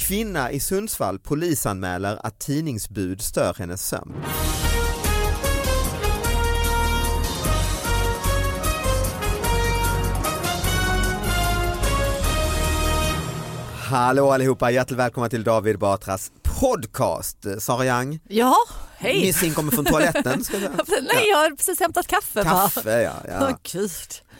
Kvinna i Sundsvall polisanmäler att tidningsbud stör hennes sömn. Hallå allihopa, hjärtligt välkomna till David Batras podcast. Sara Young, Ja, hej! Missin kommer från toaletten. Ska jag säga. Nej, jag har precis hämtat kaffe. bara. Kaffe ja. Åh ja. gud.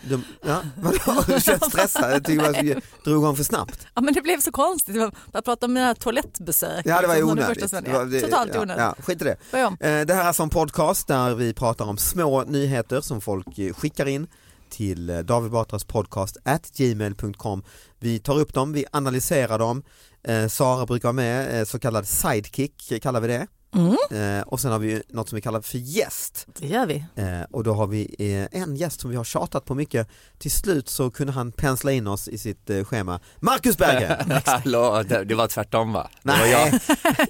Du, ja. Vadå, du känns stressad? Jag tycker bara jag drog igång för snabbt. Ja, men det blev så konstigt. Jag bara pratade om mina toalettbesök. Ja det var ju Liksom, Som de onödigt. Liksom, första som- Det var- det- ja, Totalt ja, onödigt. Ja, skit i det. Börja om. Eh, Det här är alltså en podcast där vi pratar om små nyheter som folk eh, skickar in till eh, David Batras podcast at gmail.com. Vi tar upp dem, vi analyserar dem. Eh, Sara brukar vara med, eh, så kallad sidekick eh, kallar vi det. Mm. Eh, Och sen har vi ju något som vi kallar för gäst. Det gör vi. Eh, Och då har vi eh, en gäst som vi har tjatat på mycket. Till slut så kunde han pensla in oss i sitt eh, schema. Marcus Berggren! Hallå, det, det var tvärtom va? Det var, Nej. jag,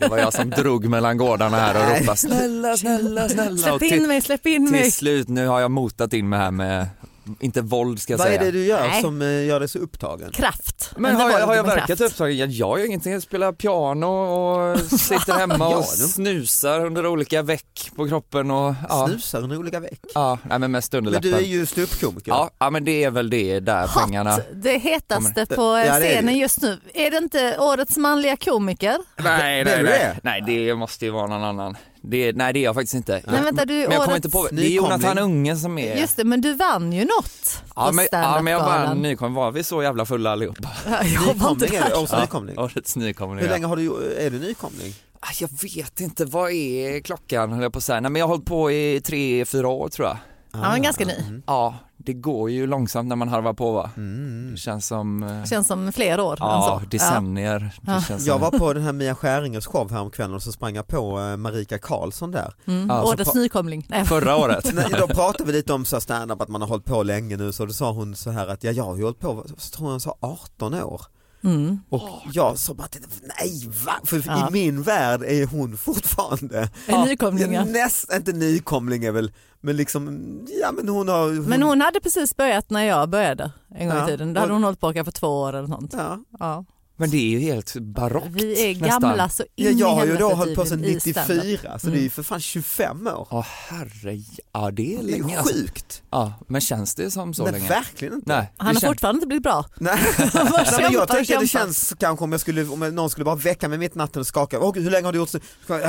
det var jag som drog mellan gårdarna här och Nej. ropade snälla, snälla, snälla. Och Släpp in till, mig, släpp in mig. till slut nu har jag motat in mig här med, inte våld ska jag Vad är säga. det du gör Nej. som eh, gör dig så upptagen? Kraft. Men Enda har jag, valet har jag med verkat kraft. upptagen? Jag gör ju ingenting, jag spelar piano och sitter hemma och Ja, du- snusar under olika veck på kroppen och ja, Snusar under olika veck? ja nej, men mest under Men du är läppen. ju ståuppkomiker. Ja, ja men det är väl det där pengarna. Hot, det Kommer. hetaste på eh, Ja, det är det scenen ju. just nu. Är det inte årets manliga komiker? Nej, Vem nej, är det? nej. nej, det måste ju vara någon annan. Det, nej, det är jag faktiskt inte. Nej, vänta, du är men jag kommer årets- inte på, det är Nykomling. Jonathan Unge som är Just det, men du vann ju något Ja på men, ja, men jag var standupgalan. nykomling, var vi så jävla fulla allihopa? Jag var inte Nykomling är där. du, årets nykomling. Årets nykomling. Hur ja. länge har du, är du nykomling? Ah, Jag vet inte, vad är klockan höll jag på att säga. Nej men jag har hållit på i tre, fyra år tror jag. Ja, men ganska ny. Ja, det går ju långsamt när man harvar på va? Det känns som, eh, Känns som fler år. än ja så. decennier. Det känns Jag som, var på den här Mia Skäringers show häromkvällen och så sprang jag på eh, Marika Karlsson där. ja, så årets Alltså, på- nykomling. Nej, förra året. Nej, Då pratade vi lite om så här stand-up, att man har hållit på länge nu, så då sa hon så här att ja, jag har ju hållit på, så tror jag hon sa 18 år. Mm. Och jag sa bara, nej va? För i min värld är hon fortfarande en nykomling ja. nästan, inte nykomling är väl, men liksom, ja men hon har, hon, Men hon hade precis börjat när jag började en gång Ja. i tiden. Då hade hon hållit på kanske två år eller sånt. ja. Ja. Men det är ju helt barockt Vi är nästan. gamla så in Ja, jag i har ju helvete då hållit på sedan tydligen i stand-up. Mm. 94, så det är ju för fan 25 år. Ja herre, ja det är Det länge är alltså. sjukt. Ja, men känns det som så Nej länge? verkligen inte. Nej, det Han har känns- fortfarande inte blivit bra. Nej. Nej, men kämpar, jag tänker att kämpar. det känns kanske om, jag skulle, om någon skulle bara väcka mig mitt i natten och skaka, Åh, gud, hur länge har du gjort så? Ska jag-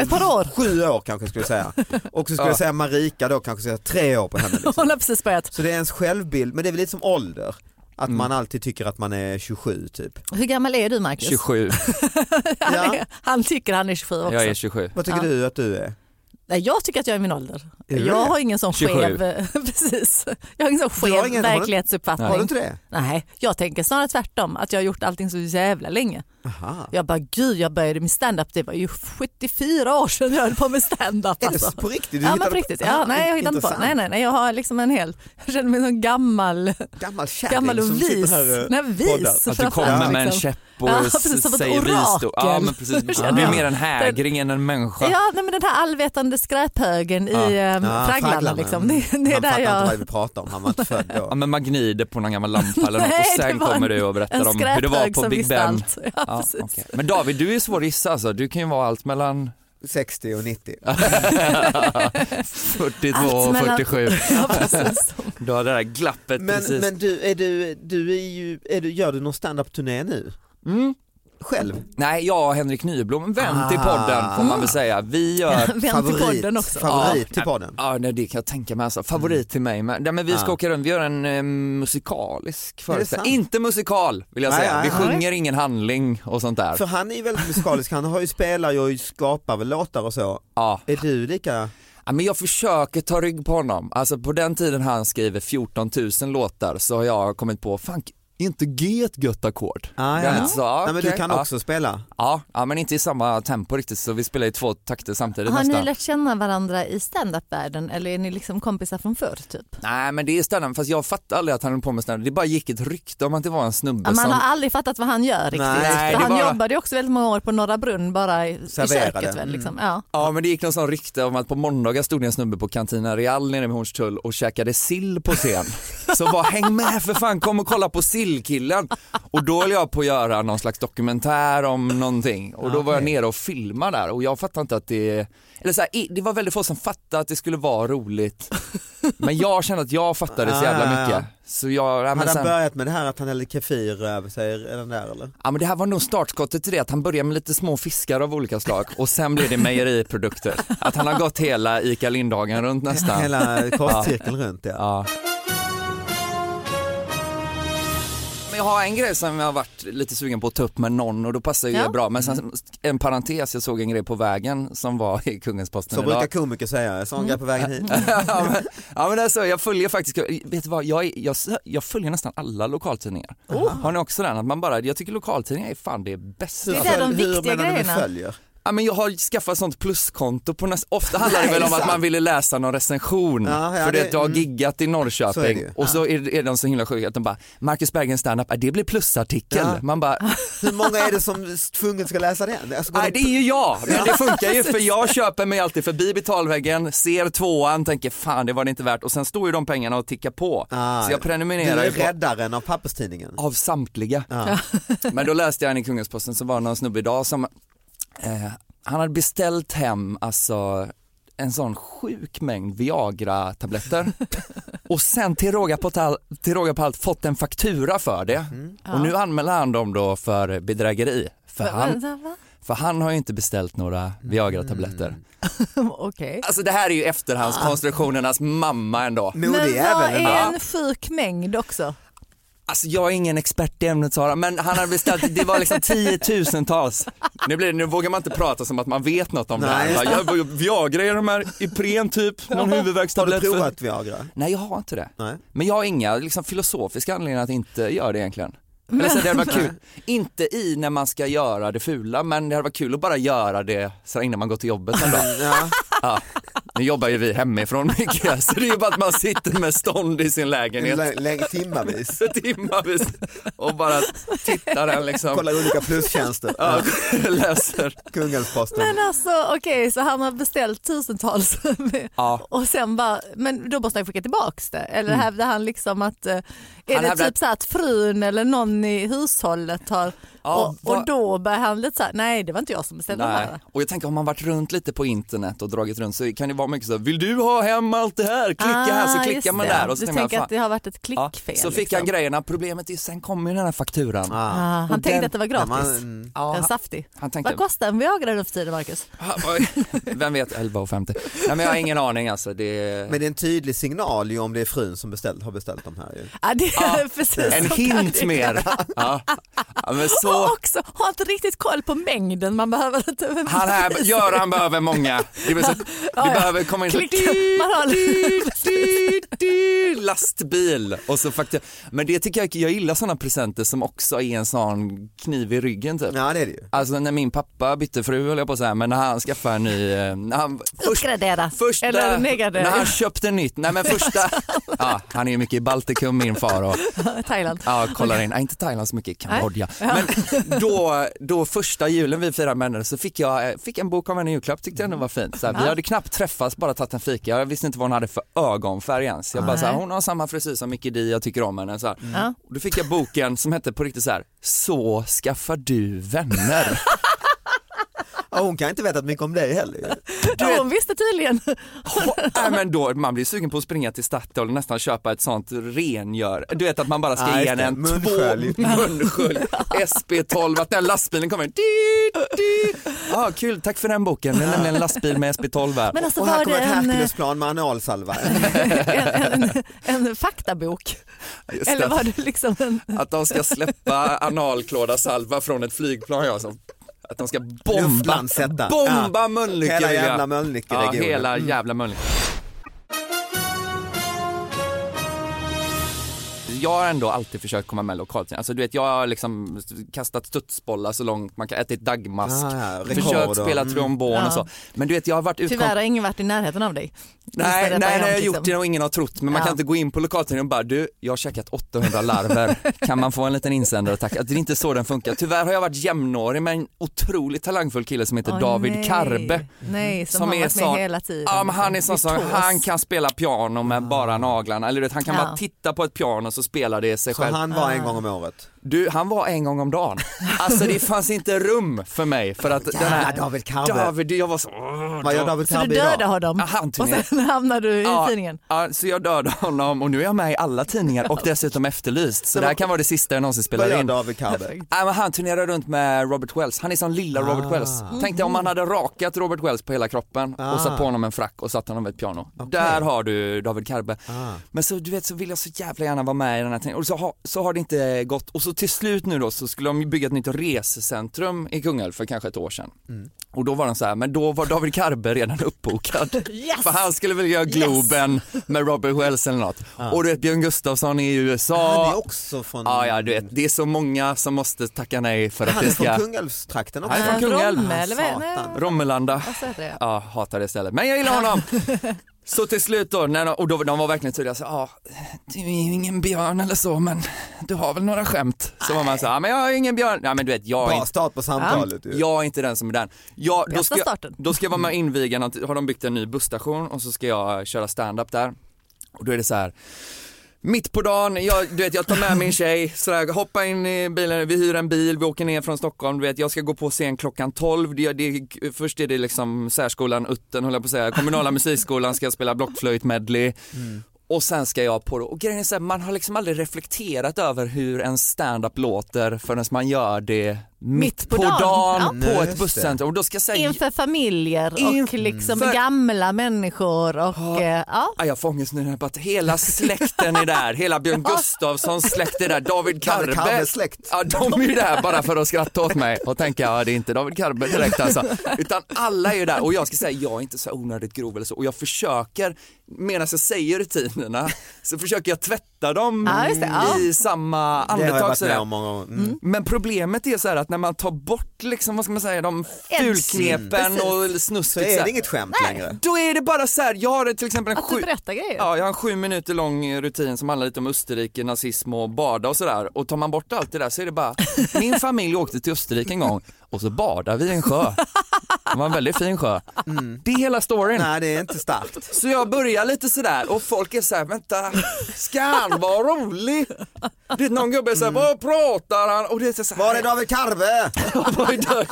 äh, Ett par år. Sju år kanske jag skulle säga. Och så skulle Ja. jag säga Marika då kanske säga tre år på henne. Liksom. Hon har precis börjat. Så det är ens självbild, men det är väl lite som ålder. Att Mm. man alltid tycker att man är 27 typ. Hur gammal är du Marcus? 27, Han, är, Ja. han tycker han är 27 också. jag är 27. Vad tycker Ja. du att du är? Nej, jag tycker att jag är min ålder. Är du jag det? har ingen sån 27. skev, precis. Jag har ingen sån Du har skev ingen- har du- verklighetsuppfattning. Har du inte det? Nej, jag tänker snarare tvärtom, att jag har gjort allting så jävla länge. Aha. Jag bara gud jag började med stand-up det var ju 74 år sedan jag höll på med stand-up. Är det Alltså. så på riktigt? Du Ja men hittade på på- riktigt. Ah, Ja, nej jag hittar inte på. intressant. Nej, nej, nej, jag har liksom en hel, jag känner mig som en gammal, Gammal kärring gammal som och vis. sitter här. eh, nej, poddar. Att vis Att du framför kommer allt, med en liksom. käpp och Ja, s- precis, som ett säger visdom. Ja, orakel. men precis. Du känner är jag. mer en hägring än en människa. Ja, nej, men den här allvetande skräphögen Ah. i eh, fragglarna. Mm. Liksom. Det, det är han där fattar inte vad jag... vi pratar om, han var inte född Ja, då. men man gnider på någon gammal lampa eller något Nej, och sen det var kommer en- du och en berättar om hur det var skräphög på som Big visste Ben. Ah, allt. Ja, precis. okej. Men David du är svår att gissa alltså. Du kan ju vara allt mellan 60 och 90. 42 Allt och mellan- 47. Ja, precis. Du har det där glappet Men, precis. men du, är du, du är ju, är du, gör du någon standup-turné nu? Mm. Själv? Nej, jag och Henrik Nyblom, en vän till Ah. podden får man väl säga. Vi gör Vänd till podden också. Favorit till podden? Ja, nej, det kan jag tänka mig. Alltså. Favorit till mig. Men, nej, men vi ska Ja. åka runt, vi gör en eh, musikalisk föreställning. Ah. sant? Inte musikal vill jag Nej, säga. nej, vi nej. sjunger ingen handling och sånt där. För han är ju väldigt musikalisk, han har ju spelar ju och skapar väl låtar och så. Ja. Är du lika? Ja, men jag försöker ta rygg på honom. Alltså på den tiden han skriver 14 000 låtar så har jag kommit på, fan är inte G ett gött ackord? Ah, Den ja. är så, ah, Nej men du okej, kan ja. också spela? Ja, ja, men inte i samma tempo riktigt så vi spelar i två takter samtidigt Har ni nästan. lärt känna varandra i standup-världen eller är ni liksom kompisar från förr? Typ? Nej men det är spännande fast jag fattade aldrig att han höll på med sånt här. Det bara gick ett rykte om att det var en snubbe Ja, Man som... har aldrig fattat vad han gör riktigt. Nej, För det han var- jobbade ju också väldigt många år på Norra Brunn bara i, i Serverade. köket. Mm. Väl, liksom. ja. Ja men det gick någon sån rykte om att på måndagar stod det en snubbe på Cantina Real nere vid Hornstull och käkade sill på scen. Så bara häng med för fan, kom och kolla på sillkillen. Och då höll jag på att göra någon slags dokumentär om någonting och då var jag nere och filmade där och jag fattade inte att det, eller så här, i- det var väldigt få som fattade att det skulle vara roligt. Men jag kände att jag fattade så Ah, jävla ja, ja. mycket. Så jag, ja, men Hade han sen, börjat med det här att han hällde kefir över sig, är den där eller? ja men det här var nog startskottet till det att han började med lite små fiskar av olika slag och sen blev det mejeriprodukter. Att han har gått hela ICA Lindhagen runt nästan. Hela kostcirkeln runt ja. Ja. Men jag har en grej som jag har varit lite sugen på att ta upp med någon och då passar ju Ja. det bra. Men sen en parentes, jag såg en grej på vägen som var i Kungens Posten Så idag. brukar komiker säga, sån Mm. grej på vägen hit. ja, men, ja men alltså, jag följer faktiskt, vet du vad, jag, är- jag, jag följer nästan alla lokaltidningar. Har ni också den? Att man bara, jag tycker lokaltidningar är fan det bästa. Det är där de Hur menar viktiga du med grejerna. följer? Ja, men jag har skaffat sånt pluskonto på nästan, ofta handlar det Nej, väl om sant. att man ville läsa någon recension Ja, ja, för det, det- att jag har mm. giggat i Så är det Norrköping ju. och så är, är de så himla sjuka att de bara Marcus Bergens standup, ja, det blir plusartikel. Ja. Man bara, Hur många är det som tvunget ska läsa den? Alltså, går nej det de- är ju jag, men det funkar ju för jag köper mig alltid förbi betalväggen, ser tvåan, tänker fan det var det inte värt och sen står ju de pengarna och tickar på. Ah, så jag Du prenumererar är ju på räddaren av papperstidningen. av samtliga. Ja. Men då läste jag en i Kungensposten så var det någon snubbe idag som, eh, han hade beställt hem alltså en sån sjuk mängd Viagra-tabletter och sen till råga, på tal, till råga på allt fått en faktura för det. Och nu anmäler han dem då för bedrägeri. För han, Va? för han har ju inte beställt några Viagra-tabletter. Okej. Alltså det här är ju efterhandskonstruktionernas mamma ändå. Modig Men vad jävel den där. är en sjuk mängd också? Alltså jag är ingen expert i ämnet Sara, men han hade beställt, det var liksom tiotusentals. Nu, blir, det- nu vågar man inte prata som att man vet något om Nej. det här. Bara, Jag, Viagra är de här Ipren typ, någon Har du huvudvärkstablett. för- provat Viagra? Nej jag har inte det. Nej. Men jag har inga liksom, filosofiska anledningar att inte göra det egentligen. Eller så det hade varit kul, inte i när man ska göra det fula men det hade varit kul att bara göra det så här innan man går till jobbet en dag. Mm, Ja. Ja. Nu jobbar ju vi hemifrån mycket så det är ju bara att man sitter med stånd i sin lägenhet Lä- lä- Timmarvis. timmarvis och bara tittar den liksom. Kollar olika plustjänster. Ja, Ja. läser. Kungens posten. Men Mm. alltså okej, så han har beställt tusentals Ja. Mm. och sen bara, men då måste han skicka tillbaks det. Eller hävdar han liksom att, eh, är Han det hävdar- typ så här att frun eller någon i hushållet har, Ja, och, vad- och då börjar han lite så här, nej det var inte jag som beställde det Nej. här. Och jag tänker om man varit runt lite på internet och dragit runt så kan det vara mycket så här, vill du ha hem allt det här? Klicka här så Ah, klickar just man det. där. Och så du tänker man, tänker att fan, det har varit ett ja. klickfel. Så fick liksom. han grejerna, problemet är sen kommer ju den här fakturan. Ah, Ah. han Och tänkte den- att det var När gratis. man- mm. Ja, En han, saftig. han tänkte, Vad kostar en Viagra nu för tiden Marcus? vem vet, 11,50. Nej men jag har ingen aning alltså. Det... Men det är en tydlig signal ju om det är frun som beställt, har beställt de här ju. Ja, det är precis En sånt hint där. mer. Ja. Ja, men Och så, också ha inte riktigt koll på mängden man behöver. Inte han här, bevisa. Göran behöver många. Det, vill säga, det Ja, ja. behöver komma in så Klick. Man har- Dyrt, dyrt, du, lastbil. Och så faktur- Men det tycker jag, jag gillar sådana presenter som också är en sån kniv i ryggen typ. Ja det är det ju. Alltså när min pappa bytte fru höll jag på att säga, men när han skaffade en ny, eh, när han, först, Uppgradera. första, Eller när han negradera. köpte nytt, nej men första, ja, han är ju mycket i Baltikum min far och Thailand. Ja, kollar in. Nej, inte Thailand så mycket, Kambodja. Men då, då första julen vi firade med henne så fick jag eh, fick en bok av henne i julklapp, tyckte jag ändå var fint. Så här, Vi hade knappt träffats, bara tagit en fika. Jag visste inte vad hon hade för ögonfärg ens. Jag bara så här, hon har samma frisyr som Mickey Di, jag tycker om henne. Så här. Och då fick jag boken som hette på riktigt så här, Så skaffar du vänner. Ja, hon kan inte veta mycket om dig heller ju. Ja, Hon visste tydligen. Nej, men då, man blir sugen på att springa till Statoil och nästan köpa ett sånt rengör. Du vet att man bara ska Ja, ge just henne det. en Munskölj. två munskölj, SP12, att den lastbilen kommer. Du, du. Ah, kul, tack för den boken. Det är nämligen en lastbil med SP12 här. Men alltså Och här var kommer det ett en, Herculesplan med analsalva. en, en, en faktabok? Just det, Eller var det liksom en... Att de ska släppa analklådasalva från ett flygplan. Ja, så. Att de ska bomba, Luftlandsätta. bomba Ja. Mölnlycke. Hela vill jag. jävla Mölnlycke-regionen. Mm. Ja, hela jävla Mölnlycke. Jag har ändå alltid försökt komma med lokalt. Alltså, du vet, jag har liksom kastat studsbollar så långt man kan, ätit dagmask, Ah, ja, rekord försökt och- spela mm. trombon och så. Men du vet, jag har varit utkom- Tyvärr har ingen varit i närheten av dig. Nej, nej, Just det, nej, jag har liksom. gjort det och ingen har trott men man Ja. kan inte gå in på lokaltidningen och bara du, jag har käkat 800 larver, kan man få en liten insändare tack? Att Det är inte så den funkar. Tyvärr har jag varit jämnårig med en otroligt talangfull kille som heter Åh, David nej. Karbe. Nej, som, har varit med hela tiden. Ja, men han är liksom. sån som, Virtuos. han kan spela piano med bara naglarna, eller du vet, han kan Ja. bara titta på ett piano så spelar det sig Så själv. han var en gång om året. Du, han var en gång om dagen. Alltså det fanns inte rum för mig för att den här Jävla David Karbe. David, jag var så... Vad gör David Så du Tabbe dödade idag? honom Ja, han och turnerade. sen hamnade du i tidningen. Ja, så jag dödade honom och nu är jag med i alla tidningar och dessutom efterlyst. Så det här kan vara det sista jag någonsin Vad spelar gör in. David Karbe? Nej, men han turnerar runt med Robert Wells, han är som lilla Ah. Robert Wells. Mhm. Tänk dig om man hade rakat Robert Wells på hela kroppen och Ah. satt på honom en frack och satt honom vid ett piano. Där har du David Karbe. Ah. Men så du vet så vill jag så jävla gärna vara med i den här tävlingen och så har, så har det inte gått. Och så till slut nu då så skulle de ju bygga ett nytt resecentrum i Kungälv för kanske ett år sedan. Mm. Och då var de så här, men då var David Karbe redan uppbokad. Yes! För han skulle väl göra Globen med Robert Wells eller något. Och du vet Björn Gustafsson är i USA. Han Ah. är också från... Ja, ja, du vet, det är så många som måste tacka nej för att Han är det ska... från Kungälvstrakten också. Han är från Kungälv. Romme, eller vad nej, Satan. Rommelanda. vad heter det? Ja, hatar det stället. Men jag gillar honom. Så till slut då, när de, och då, de var verkligen tydliga, så, ja, du är ju ingen björn eller så men du har väl några skämt? Så var man så, ja men jag är ingen björn, ja men du vet jag är Bra inte, start på samtalet ju. jag är inte den som är den. Jag, då, Bästa ska jag, starten. då ska jag vara med och inviga, något- har de byggt en ny busstation och så ska jag eh, köra stand-up där. Och då är det så här. Mitt på dagen, jag, du vet, jag tar med min tjej, sådär, hoppar in i bilen, vi hyr en bil, vi åker ner från Stockholm, du vet, jag ska gå på scen klockan 12. Det, det, först är det liksom särskolan Utten, höll jag på att säga, kommunala musikskolan ska jag spela blockflöjt medley. Mm. Och sen ska jag på det. Och grejen är så här, man har liksom aldrig reflekterat över hur en stand-up låter förrän man gör det mitt, på, på dagen, dagen. Ja. Nej, på ett just det. busscenter. Och då ska jag säga, Inför familjer och Inför- liksom Mm. gamla människor och eh, ja. Ah, jag får ångest nu när jag bara, hela släkten är där, hela Björn Gustafssons släkt är där, David Karbe. Karbe. Karbes släkt. Ja, de är ju där bara för att skratta åt mig och tänka, ja det är inte David Karbe direkt alltså. Utan alla är ju där och jag ska säga, jag är inte så onödigt grov eller så och jag försöker, medan jag säger rutinerna, så försöker jag tvätta dem Ja, just det, ja. i samma Det har jag andetag. varit med sådär. om många gånger. Mm. Men problemet är så här att när man tar bort liksom, vad ska man säga, de fulknepen och Så snusket Typ så är här, det inget skämt längre. då är det bara så här, jag har till exempel en Att du sju, berättar grejer. Ja, jag har en sju minuter lång eh, rutin som handlar lite om Österrike, nazism och bada och sådär. Och tar man bort allt det där så är det bara, min familj åkte till Österrike en gång och så badade vi i en sjö. Det var en väldigt fin sjö. Det är hela storyn. Mm. Nej det är inte starkt. Så jag börjar lite sådär och folk är såhär, vänta, ska han vara rolig? Det är någon gubbe såhär, vad pratar han? Och det är såhär, Mm. Var är David Karbe? Oj, då.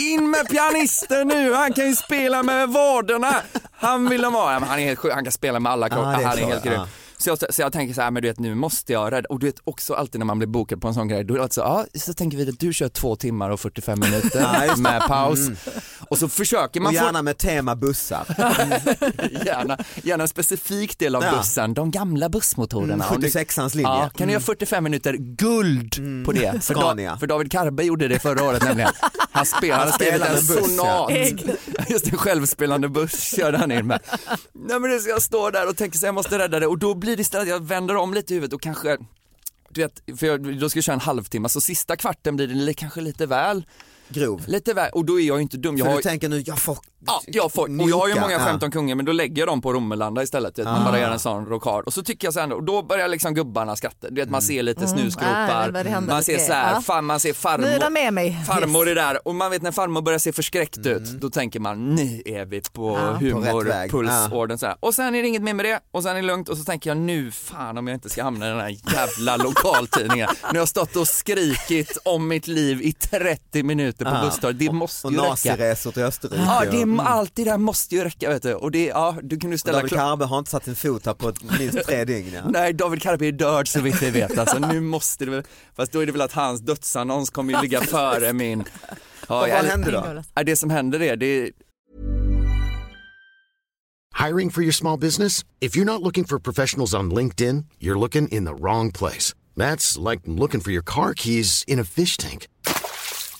In med pianisten nu, han kan ju spela med vaderna. Han vill de ha. Ja, men Han är helt sjuk, han kan spela med alla kroppar, det är han är klart, helt grym. ja. Så jag, så jag tänker så här, men du vet nu måste jag rädda, och du vet också alltid när man blir bokad på en sån grej, då är det alltså, ja, så tänker vi att du kör två timmar och 45 Ja, just minuter det. Mm. med paus. Och så försöker Och man få gärna med tema bussar. Mm. gärna, gärna en specifik del av Ja. bussen, de gamla bussmotorerna. Om du- 76ans linje. Mm. Ja, kan du göra 45 minuter guld på det? För, Scania. för David Karbe gjorde det förra året nämligen. Han spelade, han skrev spelade en buss, ja. sonat. Just en självspelande buss körde han in med. Nej men det ska jag stå där och tänker så jag måste rädda det och då blir det istället att jag vänder om lite i huvudet och kanske du vet, för jag, då ska jag köra en halvtimme, så sista kvarten blir det li- kanske lite väl, Grov. lite väl, och då är jag ju inte dum. Jag För har, du tänker nu, jag får, Ja, jag får, och jag har ju Nika, många ja. skämt om kungen men då lägger jag dem på Romelanda istället. Du vet, man bara gör en sån rockard. Och så tycker jag så ändå, och då börjar liksom gubbarna skratta. Du vet man ser lite Ah, snusgropar, det börjar hända man ser lite så här, grejer. Ja. fan, man ser Nu är de farmor. med mig. Farmor är där och man vet när farmor börjar se förskräckt ut då tänker man nu är vi på På rätt väg. humor, pulsorden så här. Och sen är det inget mer med det och sen är det lugnt och så tänker jag nu fan om jag inte ska hamna i den här jävla lokaltidningen. Nu har jag stått och skrikit om mitt liv i 30 minuter på Ja. busstorget. Det måste och ju räcka. naziresor till Österrike. Ja, det är och- allt det där måste ju räcka vet du. Och det, ja, du kan ju ställa mm. David klockan. Karbe har inte satt sin fot här på ett- minst tre dygn. Ja. Nej, David Karpe är död så vitt vi vet alltså. Nu måste det väl, fast då är det väl att hans dödsannons kommer ju ligga före min. Ja, Och vad jag- händer då? Ja, det som händer är, det är Hiring for your small business? If you're not looking for professionals on LinkedIn, you're looking in the wrong place. That's like looking for your car keys in a fish tank.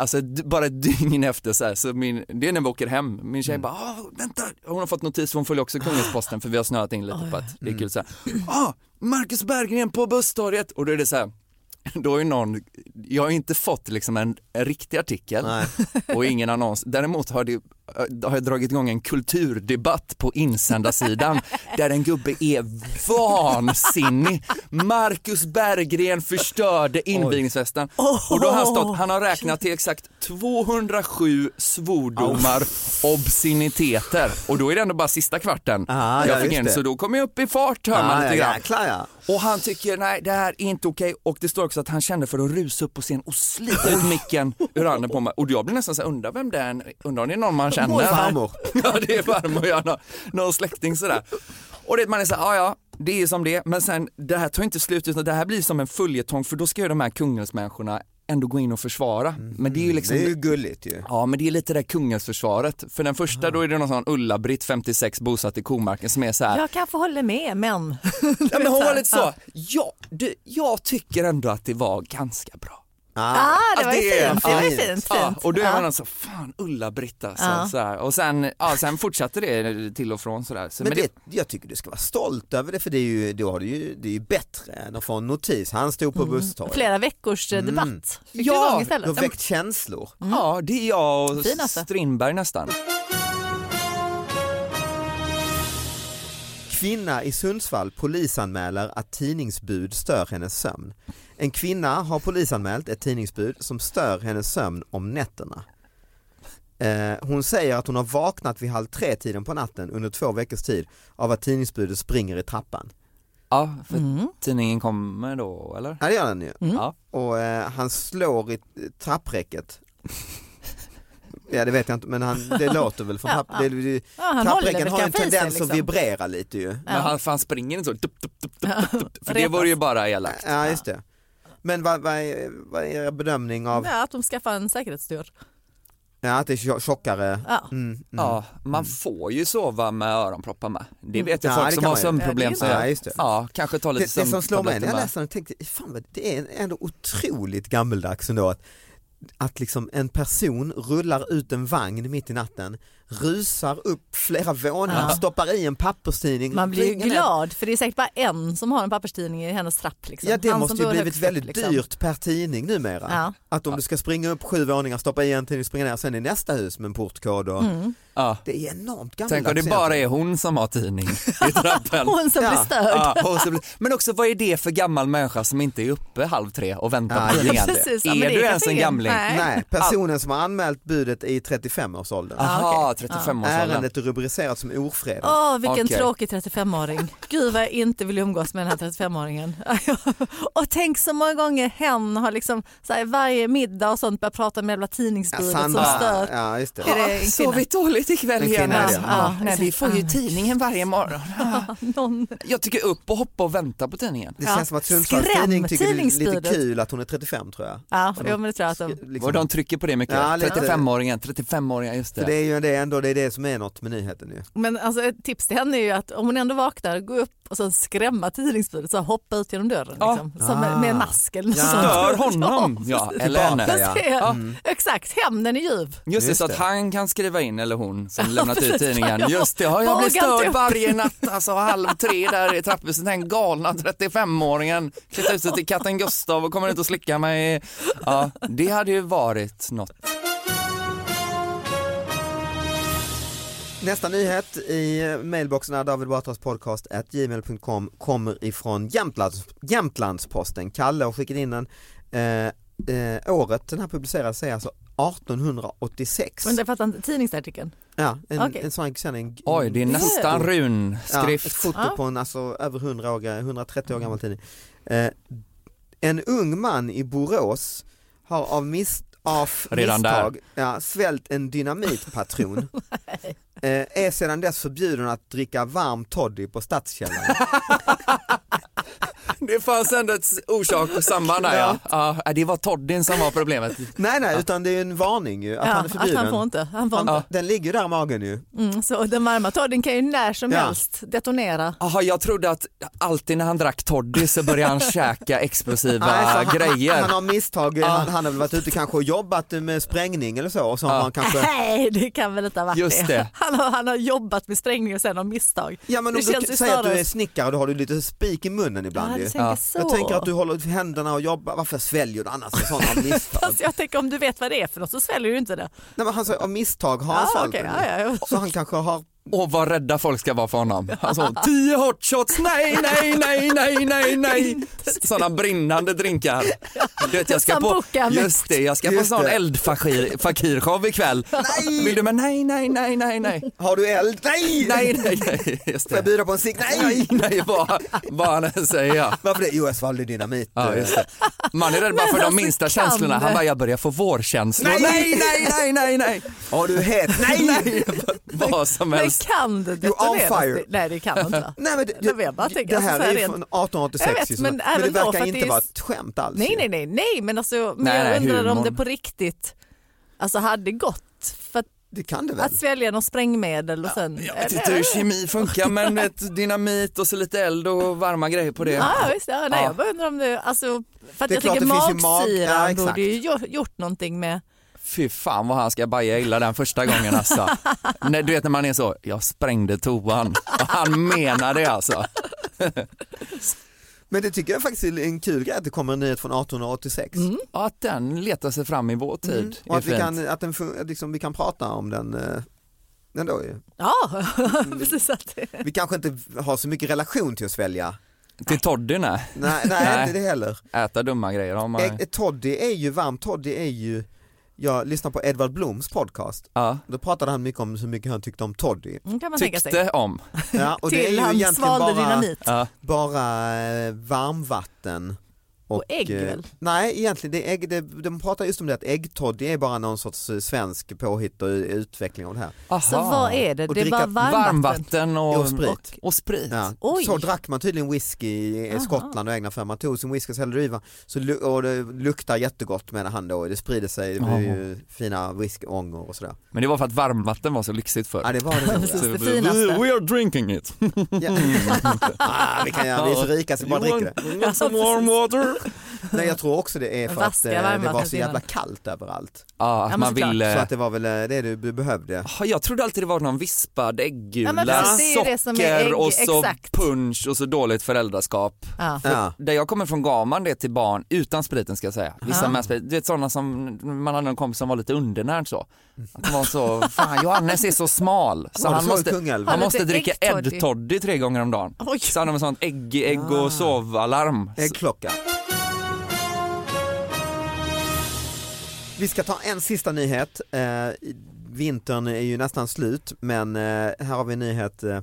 Alltså d- bara ett dygn efter så här, så min, det är när vi åker hem, min tjej bara "Ah, vänta, hon har fått notis, hon följer också Kungälvsposten för vi har snöat in lite på att det är kul så här, ah, Marcus Berggren på busstorget och då är det så här, då är ju någon, jag har ju inte fått liksom en, en riktig artikel och ingen annons, däremot har, det, eh, har jag dragit igång en kulturdebatt på insändarsidan där en gubbe är vansinnig, Marcus Berggren förstörde invigningsfesten och då har han stått, han har räknat till exakt 207 svordomar, obsceniteter och då är det ändå bara sista kvarten Ah, ja, jag fick just in, det. så då kommer jag upp i fart hör man Ah, ja, lite grann. jäklar ja. Och han tycker nej det här är inte okej och det står också att han kände för att rusa upp på scen och slita ut micken ur handen på mig och jag blir nästan så här, undrar vem det är, undrar om det är någon man känner? Vår farmor. ja det är farmor, ja, någon, någon släkting sådär. Och det, man är såhär, ja ja det är som det är. men sen det här tar inte slut utan det här blir som en följetong för då ska ju de här kungens-människorna ändå gå in och försvara. Men det är ju liksom Det är ju gulligt ju. Ja men det är lite det där kungasförsvaret. För den första då är det någon sån Ulla-Britt 56 bosatt i Komarken som är så här. Jag kanske håller med men. Ja, men hon var lite så. Ja, du, jag tycker ändå att det var ganska bra. Ah, det Att var ju är- fint. Det var ju ja, fint. Ja, fint. och då är man Ja. alltså, fan Ulla-Britt alltså. Så här. Och sen, ja, sen fortsatte det till och från sådär. Så, Men det, jag tycker du ska vara stolt över det för det är ju, då har du ju, det är ju bättre än att få en notis. Han stod på busstorget. Flera veckors eh, debatt. Fick Mm. du igång Ja, Du har istället? väckt känslor. Ja, det är jag och Fin alltså. Strindberg nästan. Kvinna i Sundsvall polisanmäler att tidningsbud stör hennes sömn. En kvinna har polisanmält ett tidningsbud som stör hennes sömn om nätterna. Eh, Hon säger att hon har vaknat vid halv tre-tiden på natten under två veckors tid av att tidningsbudet springer i trappan. Ja, för Mm. tidningen kommer då eller? Ja det gör den ju. Mm. Ja. Och eh, han slår i trappräcket. Ja det vet jag inte men han, det låter väl från trapp, det, det, han håller trappräcken väl har ju en kanske i sig, tendens att liksom. vibrera lite ju. Men han, för han springer inte så, dup, dup, dup, dup, dup, dup, för det vore ju bara elakt. Ja just det. Men vad, vad, är, vad är er bedömning av Ja, att de skaffar en säkerhetsdörr. ja, att det är tjo- tjockare? Ja. Mm. Mm. Ja, man får ju sova med öronproppar med. Det vet jag Mm. Ja, det folk som kan har man ju. sömnproblem Ja, som det är gör. det. Ja, just det. Ja, kanske ta Det, lite det som slår mig sömntabletter när jag med. läste den tänkte, fan vad, det är ändå otroligt gammeldags ändå att att liksom en person rullar ut en vagn mitt i natten, rusar upp flera våningar, Ja. stoppar i en papperstidning. Man blir ju ringer ner. glad liksom. för det är säkert bara en som har en papperstidning i hennes trapp. Liksom. Ja det Han som måste ju bor blivit högst upp, väldigt liksom. dyrt per tidning numera. Ja. Att om du ska springa upp sju våningar, stoppa i en tidning, springa ner sen i nästa hus med en portkod och Mm. Ja. det är enormt gammalt. Tänk om det bara är hon som har tidning i trappen. Hon som blir störd. Ja, hon som blir... Men också vad är det för gammal människa som inte är uppe halv tre och väntar Ja, på tidningen? precis. Ja, men är det du är ens en kanske gamling? ingen. Nej, personen som har anmält budet är i 35-årsåldern. Aha, 35-årsåldern. Ärendet är rubricerat som ofredande. Åh, vilken Okej. tråkig 35-åring. Gud vad jag inte vill umgås med den här 35-åringen. och tänk så många gånger hen har liksom så här, varje middag och sånt börjat prata med jävla tidningsbudet som Sandra. stör. Ja, just det. Är det en kvinna? dåligt ikväll En kvinna är det, ja. nej, vi får ju tidningen varje morgon. Någon... Jag tycker upp och hoppa och vänta på tidningen. Det känns som att Sundsvalls Skräm tidning tycker det är lite tidningsbudet. kul att hon är 35 tror jag. Ja, För jo, men det tror jag att de... liksom- Och de trycker på det mycket. Ja, lite. 35-åringen, 35-åringen, just För det. det är ju det ändå, det är det som är något med nyheten ju. Men alltså, ett tips till henne är ju att om hon ändå vaknar, gå upp och sen skrämma tidningsbudet, så här, hoppa ut genom dörren. Ja. Liksom. Som med, Ah. med en mask eller något Ja. sånt. Stör honom, ja, eller henne. Mm. Jag ser. Ja. Exakt, hämnden är ljuv. Just det, Just så att det. han kan skriva in, eller hon, som Ja, lämnat ut precis. tidningen. Ja, Just det, har jag vågar blivit inte störd upp. varje natt, alltså halv tre där i trapphuset, den galna 35-åringen klätt ut sig till katten Gustav och kommer inte att slicka mig. Ja, det hade ju varit något. Nästa nyhet i eh, mailboxen är David Batras podcast at gmail.com kommer ifrån Jämtlands, Jämtlandsposten. Kalle har skickat in den. Eh, eh, året den här publicerades är alltså 1886. Men jag fattar inte, tidningsartikeln. Ja, en, Okej. en sån här sen en, Oj, det är en nästan Ah, foto. Mm. Ja, ett runskrift. foto Ja. på en alltså, över 100 år, ga- 130 år gammal tidning. Eh, en ung man i Borås har av, mis av Redan där. misstag ja, svält en dynamitpatron. eh, är sedan dess förbjuden att dricka varm toddy på Stadskällan. Det fanns ändå ett orsak och samband där ja. ja. äh, Det var Toddyn som var problemet. nej, nej, utan det är en varning ju, att Ja, han är förbjuden. Att han får inte. Han får Han- inte. Den ligger ju där i magen ju. Mm, så den varma todden kan ju när som Ja. helst detonera. Jaha, jag trodde att alltid när han drack Toddy så började han käka explosiva Nej, så han- grejer. Han har misstag, han, han har väl varit ute kanske och jobbat med sprängning eller så och så har han kanske Nej, det kan väl inte ha varit Just det. Han, har, han har jobbat med sprängning och sen av misstag. Ja men det om du säger att du är snickare då har du lite spik i munnen Ja, ibland du ju. tänker så. Jag tänker att du håller händerna och jobbar, varför sväljer du annars en sån av misstag? Fast jag tänker om du vet vad det är för något så sväljer du inte det. Nej men han säger av misstag har han Ja, svalt okej, den. ja, ja, ja. Så han kanske har, Och vad rädda folk ska vara för honom. Alltså, tio hot shots, nej, nej, nej, nej, nej, nej. Sådana brinnande drinkar. Du vet, jag ska på, Sambuca med- just det, jag ska på Just sån det. eldfakir- fakirshow ikväll. Nej! Vill du med nej, nej, nej, nej, nej, har du eld? Nej! nej, nej, nej, just Får jag det. bjuda på en cigg? Nej! Nej, nej, vad, vad han än säger. ja. Varför det? Jo jag svalde dynamit. Ja, just det. Man är rädd bara Men för de alltså, minsta kan känslorna. Han det? bara, jag börjar få vårkänslor. Nej! nej, nej, nej, nej, nej. Har du het? Nej! nej. Vad som Men helst. kan det You're on detoneras? fire. Det- Nej, det kan det inte. va? Nej, men det, Då vill jag bara tänka, det här alltså, så är här ju rent- från 1886 Jag vet, ju, så- men men det även då, för verkar att inte det är- vara ett skämt alls. Nej, ju. nej, nej, nej, men alltså men Nej, nej, jag undrar om humorn. det på riktigt alltså, hade gått. För att, Det kan det väl? att svälja något sprängmedel och sen... Jag vet inte hur kemi funkar men ett dynamit och så lite eld och varma grejer på det. Ja, visst. Ja, nej, Ja. Jag bara undrar om det... Alltså, för att Det är jag klart tycker det finns ju mag- magsyran ja, exakt. borde ju gjort, gjort någonting med... Fy fan vad han ska baja illa den första gången alltså. Nej, du vet när man är så, jag sprängde toan och han menar det alltså. Men det tycker jag faktiskt är en kul grej att det kommer en nyhet från 1886. Mm. Ja, att den letar sig fram i vår tid. Mm. Och är att, vi fint. eh, kan, att den, fun- liksom, vi kan prata om den eh, ändå ju. Ja, Mm. precis. Att det... Vi kanske inte har så mycket relation till att svälja. Till Toddy nej. Nej, nej, Nej. inte det heller. Äta dumma grejer har man. E- Toddy är ju, varm toddy är ju, jag lyssnar på Edvard Bloms podcast. Ja. Då pratade han mycket om hur mycket han tyckte om toddy. Mm, kan man tänka sig. Tyckte om. Ja, och det är Till ju han egentligen svalde bara, dynamit. Ja. bara eh, varmvatten. Och ägg eh, väl? Nej, egentligen, det är ägg, det, de pratar just om det att äggtoddy är bara någon sorts eh, svensk påhitt och eh, utveckling av det här. Aha. Så vad är det? Och Det är dricka bara varmvatten? och, Och sprit. Och, och sprit. Ja. Oj. Så drack man tydligen whisky i eh, Skottland och egna för man tog sin whisky och hällde i va- så lu- och det luktar jättegott menar han då, det sprider sig, det blir ju fina whiskyångor och sådär. Men det var för att varmvatten var så lyxigt förr. Ja det var det. Precis, Så det vi- finaste. We are drinking it. ja. ah, vi kan göra, vi är så rika så vi bara dricker det. Want some warm water? Nej jag tror också det är för Vaska att eh, det var så varmvattnet jävla innan. kallt överallt. Ja, men man såklart. vill, eh, Så att det var väl eh, det du behövde. Ja, Jag trodde alltid det var någon vispad äggula, Ja, men precis, det är ju det som är socker ägg, och så exakt. punch och så dåligt föräldraskap. Ja. För Ja. Där jag kommer från gav man det till barn utan spriten ska jag säga. Vissa Ja. med sprit, du vet sådana som, man hade en kompis som var lite undernärd så. Han var så, fan Johannes är så smal så Var det han så i måste, Kungälv? han Har måste lite dricka äggtoddy. Ed-toddy tre gånger om dagen. Oj. Så han har med sånt ägg, ägg Ah. och sovalarm. En klocka. Vi ska ta en sista nyhet. Eh, vintern är ju nästan slut men eh, här har vi en nyhet. Eh,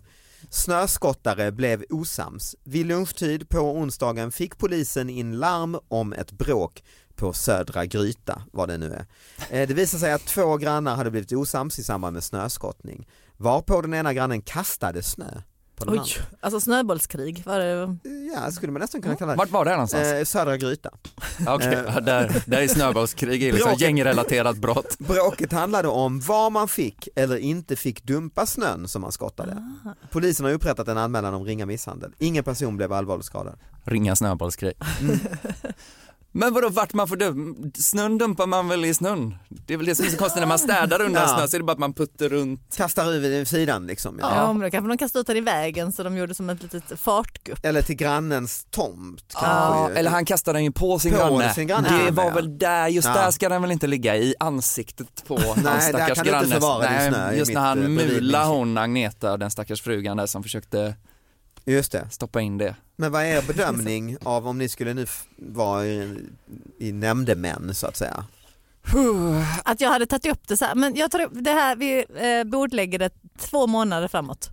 snöskottare blev osams. Vid lunchtid på onsdagen fick polisen in larm om ett bråk på Södra Gryta, vad det nu är. Eh, det visade sig att två grannar hade blivit osams i samband med snöskottning. Varpå den ena grannen kastade snö på den Oj, andra. alltså snöbollskrig. Var det... Ja, skulle man nästan kunna kalla Vart var det här någonstans? det. Eh, Södra Gryta. Ja, Okej, eh. ja, där, där är snöbollskrig, det är liksom Bråket. gängrelaterat brott. Bråket handlade om var man fick eller inte fick dumpa snön som man skottade. Ah. Polisen har upprättat en anmälan om ringa misshandel. Ingen person blev allvarligt skadad. Ringa snöbollskrig. Mm. Men vadå vart man får dum- Snön dumpar man väl i snön? Det är väl det som är så konstigt när man städar undan Ja. snö så är det bara att man puttar runt. Kastar över sidan liksom. Ja. Ja. men då kanske de kastade ut den i vägen så de gjorde som ett litet fartgupp. Eller till grannens tomt kanske. ju. Eller han kastar den ju på sin På granne. sin granne, Det ja. var väl där, just Ja. där ska den väl inte ligga i ansiktet på där hans stackars kan du inte granne. förvara din snö i just mitt, när eh, han bredvid mulade min- hon Agneta, den stackars frugan där som försökte Just det. stoppa in det. Men vad är er bedömning av om ni skulle nu f- vara i, i nämndemän så att säga? Att jag hade tagit upp det så här. Men jag tar upp det här, vi eh, bordlägger det två månader framåt.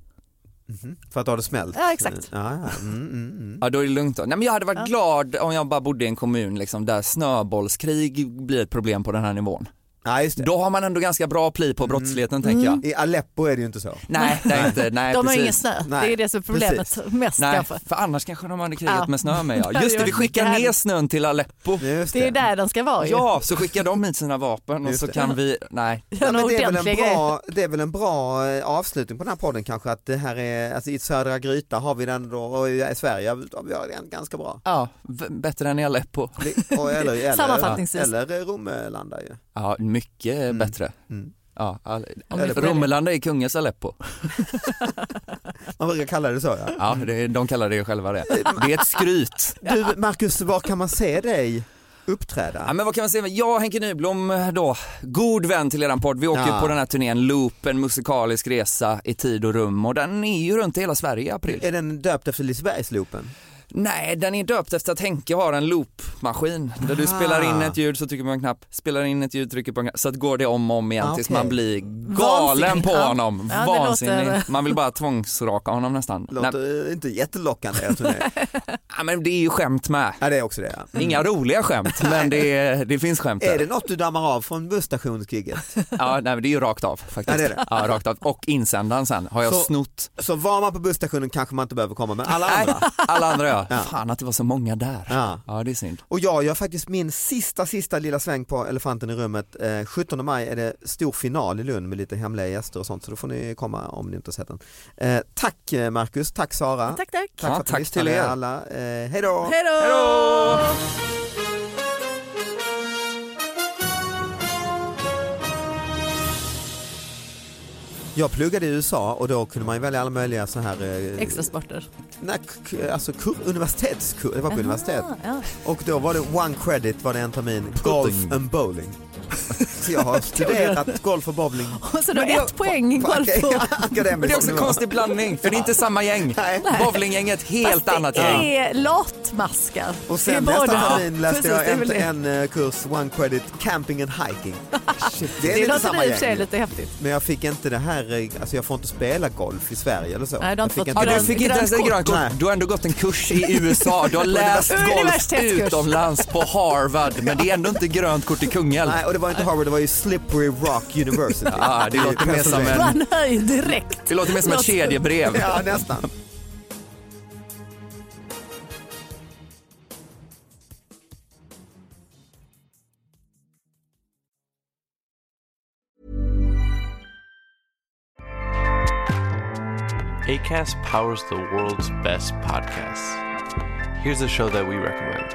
Mhm. För att ha det smält? Ja, exakt. Ja, ja. Mm, mm, mm. Ja då är det lugnt då. Nej men jag hade varit glad om jag bara bodde i en kommun liksom, där snöbollskrig blir ett problem på den här nivån. ja Mm. just det. Då har man ändå ganska bra pli på brottsligheten tänker jag. I Aleppo är det ju inte så. Nej, det är inte, nej de har precis. ingen snö, Nej, det är det som är problemet mest Nej, kanske. för annars kanske de hade krigat Ja. med snö med Det ja. hade Just det, vi varit skickar ner jävligt. snön till Aleppo. Just Det är ju det. där den ska vara ju. Ja, så skickar de hit sina vapen och Just så det. kan vi, nej. Gör Ja, men några det, är väl en ordentliga grejer. bra, det är väl en bra eh, avslutning på den här podden kanske att det här är, alltså i Södra Gryta har vi den då och i Sverige har vi den ganska bra. Ja, v- bättre än i Aleppo. Det- Och, eller, eller, Sammanfattningsvis. eller Romelanda ju. Ja, mycket bättre. Mm. Ja, all... Aleppo. Romelanda är kungens Aleppo. Man brukar kalla det så ja. Ja, det, de kallar det ju själva det. Det är ett skryt. Du Marcus, var kan man se dig Ja, uppträda? men vad kan man säga? Jag och Henke Nyblom eh, då, god vän till eran podd. Vi åker Ja. på den här turnén Loop, en musikalisk resa i tid och rum och den är ju runt i hela Sverige i april. Är den döpt efter Lisebergsloopen? Nej, den är döpt efter att Henke har en loopmaskin där du Ah. spelar in ett ljud så trycker man på en knapp, spelar in ett ljud, trycker på en knapp, så att går det om och om igen Ah, tills okej. man blir galen Vansinnig. på Ja. honom. Ja, det Vansinnig. låter- Man vill bara tvångsraka honom nästan. Nej, Låter inte jättelockande jag tror det. ja, men det är ju skämt med. Ja det är också det ja. Mm. Inga roliga skämt, men det, är, det finns skämt Är där. det något du dammar av från busstationsgiget? Ja, nej, men det är ju rakt av faktiskt. Ja, det är det. Ja, rakt av. Och insändaren sen har jag Så- snott. Så var man på busstationen kanske man inte behöver komma men alla andra. Nej, alla andra ja. Fan att det var så många där. Ja. ja det är synd. Och jag gör faktiskt min sista, sista lilla sväng på elefanten i rummet. Eh, 17 maj är det stor final i Lund med lite hemliga gäster och sånt så då får ni komma om ni inte har sett den. Eh, tack eh, Marcus, tack Sara. Tack, tack. Tack för Ja, att ni tack lyssnade till er. alla. Eh, hej då! Hej då! Jag pluggade i USA och då kunde man ju välja alla möjliga så här... Eh, Extra sporter. nej, k- alltså kur, universitetskurs, det var på universitet. Ah, ja. Och då var det one credit var det en termin, golf and bowling. Så jag har studerat golf och bowling. Och så då ett poäng i golf och... Men det är också en konstig blandning, för det är inte samma gäng. Nej. Bowlinggänget, helt annat Fast det gäng. är latmaskar. Och Det är sen både- nästa Ja, termin läste precis, det är väl jag det. en, en eh, kurs, one credit, camping and hiking. Shit, det är Det lite låter samma i och för sig gäng. lite häftigt. Men jag fick inte det här, eh, alltså jag får inte spela golf i Sverige eller så. Nej, du har inte jag fick fått Ja, inte grönt- du det. fick inte ens ett grönt grönt kort. Nej. Du har ändå gått en kurs i USA, du har läst golf Universitetskurs. utomlands på Harvard, men det är ändå inte grönt kort i Kungälv. Nej, och det var inte Harvard, det var ju Slippery Rock University. Ja, det låter mer som en- Man hör ju direkt. Det låter mer som ett kedjebrev. Ja, nästan. ACAST powers the world's best podcasts. Here's a show that we recommend.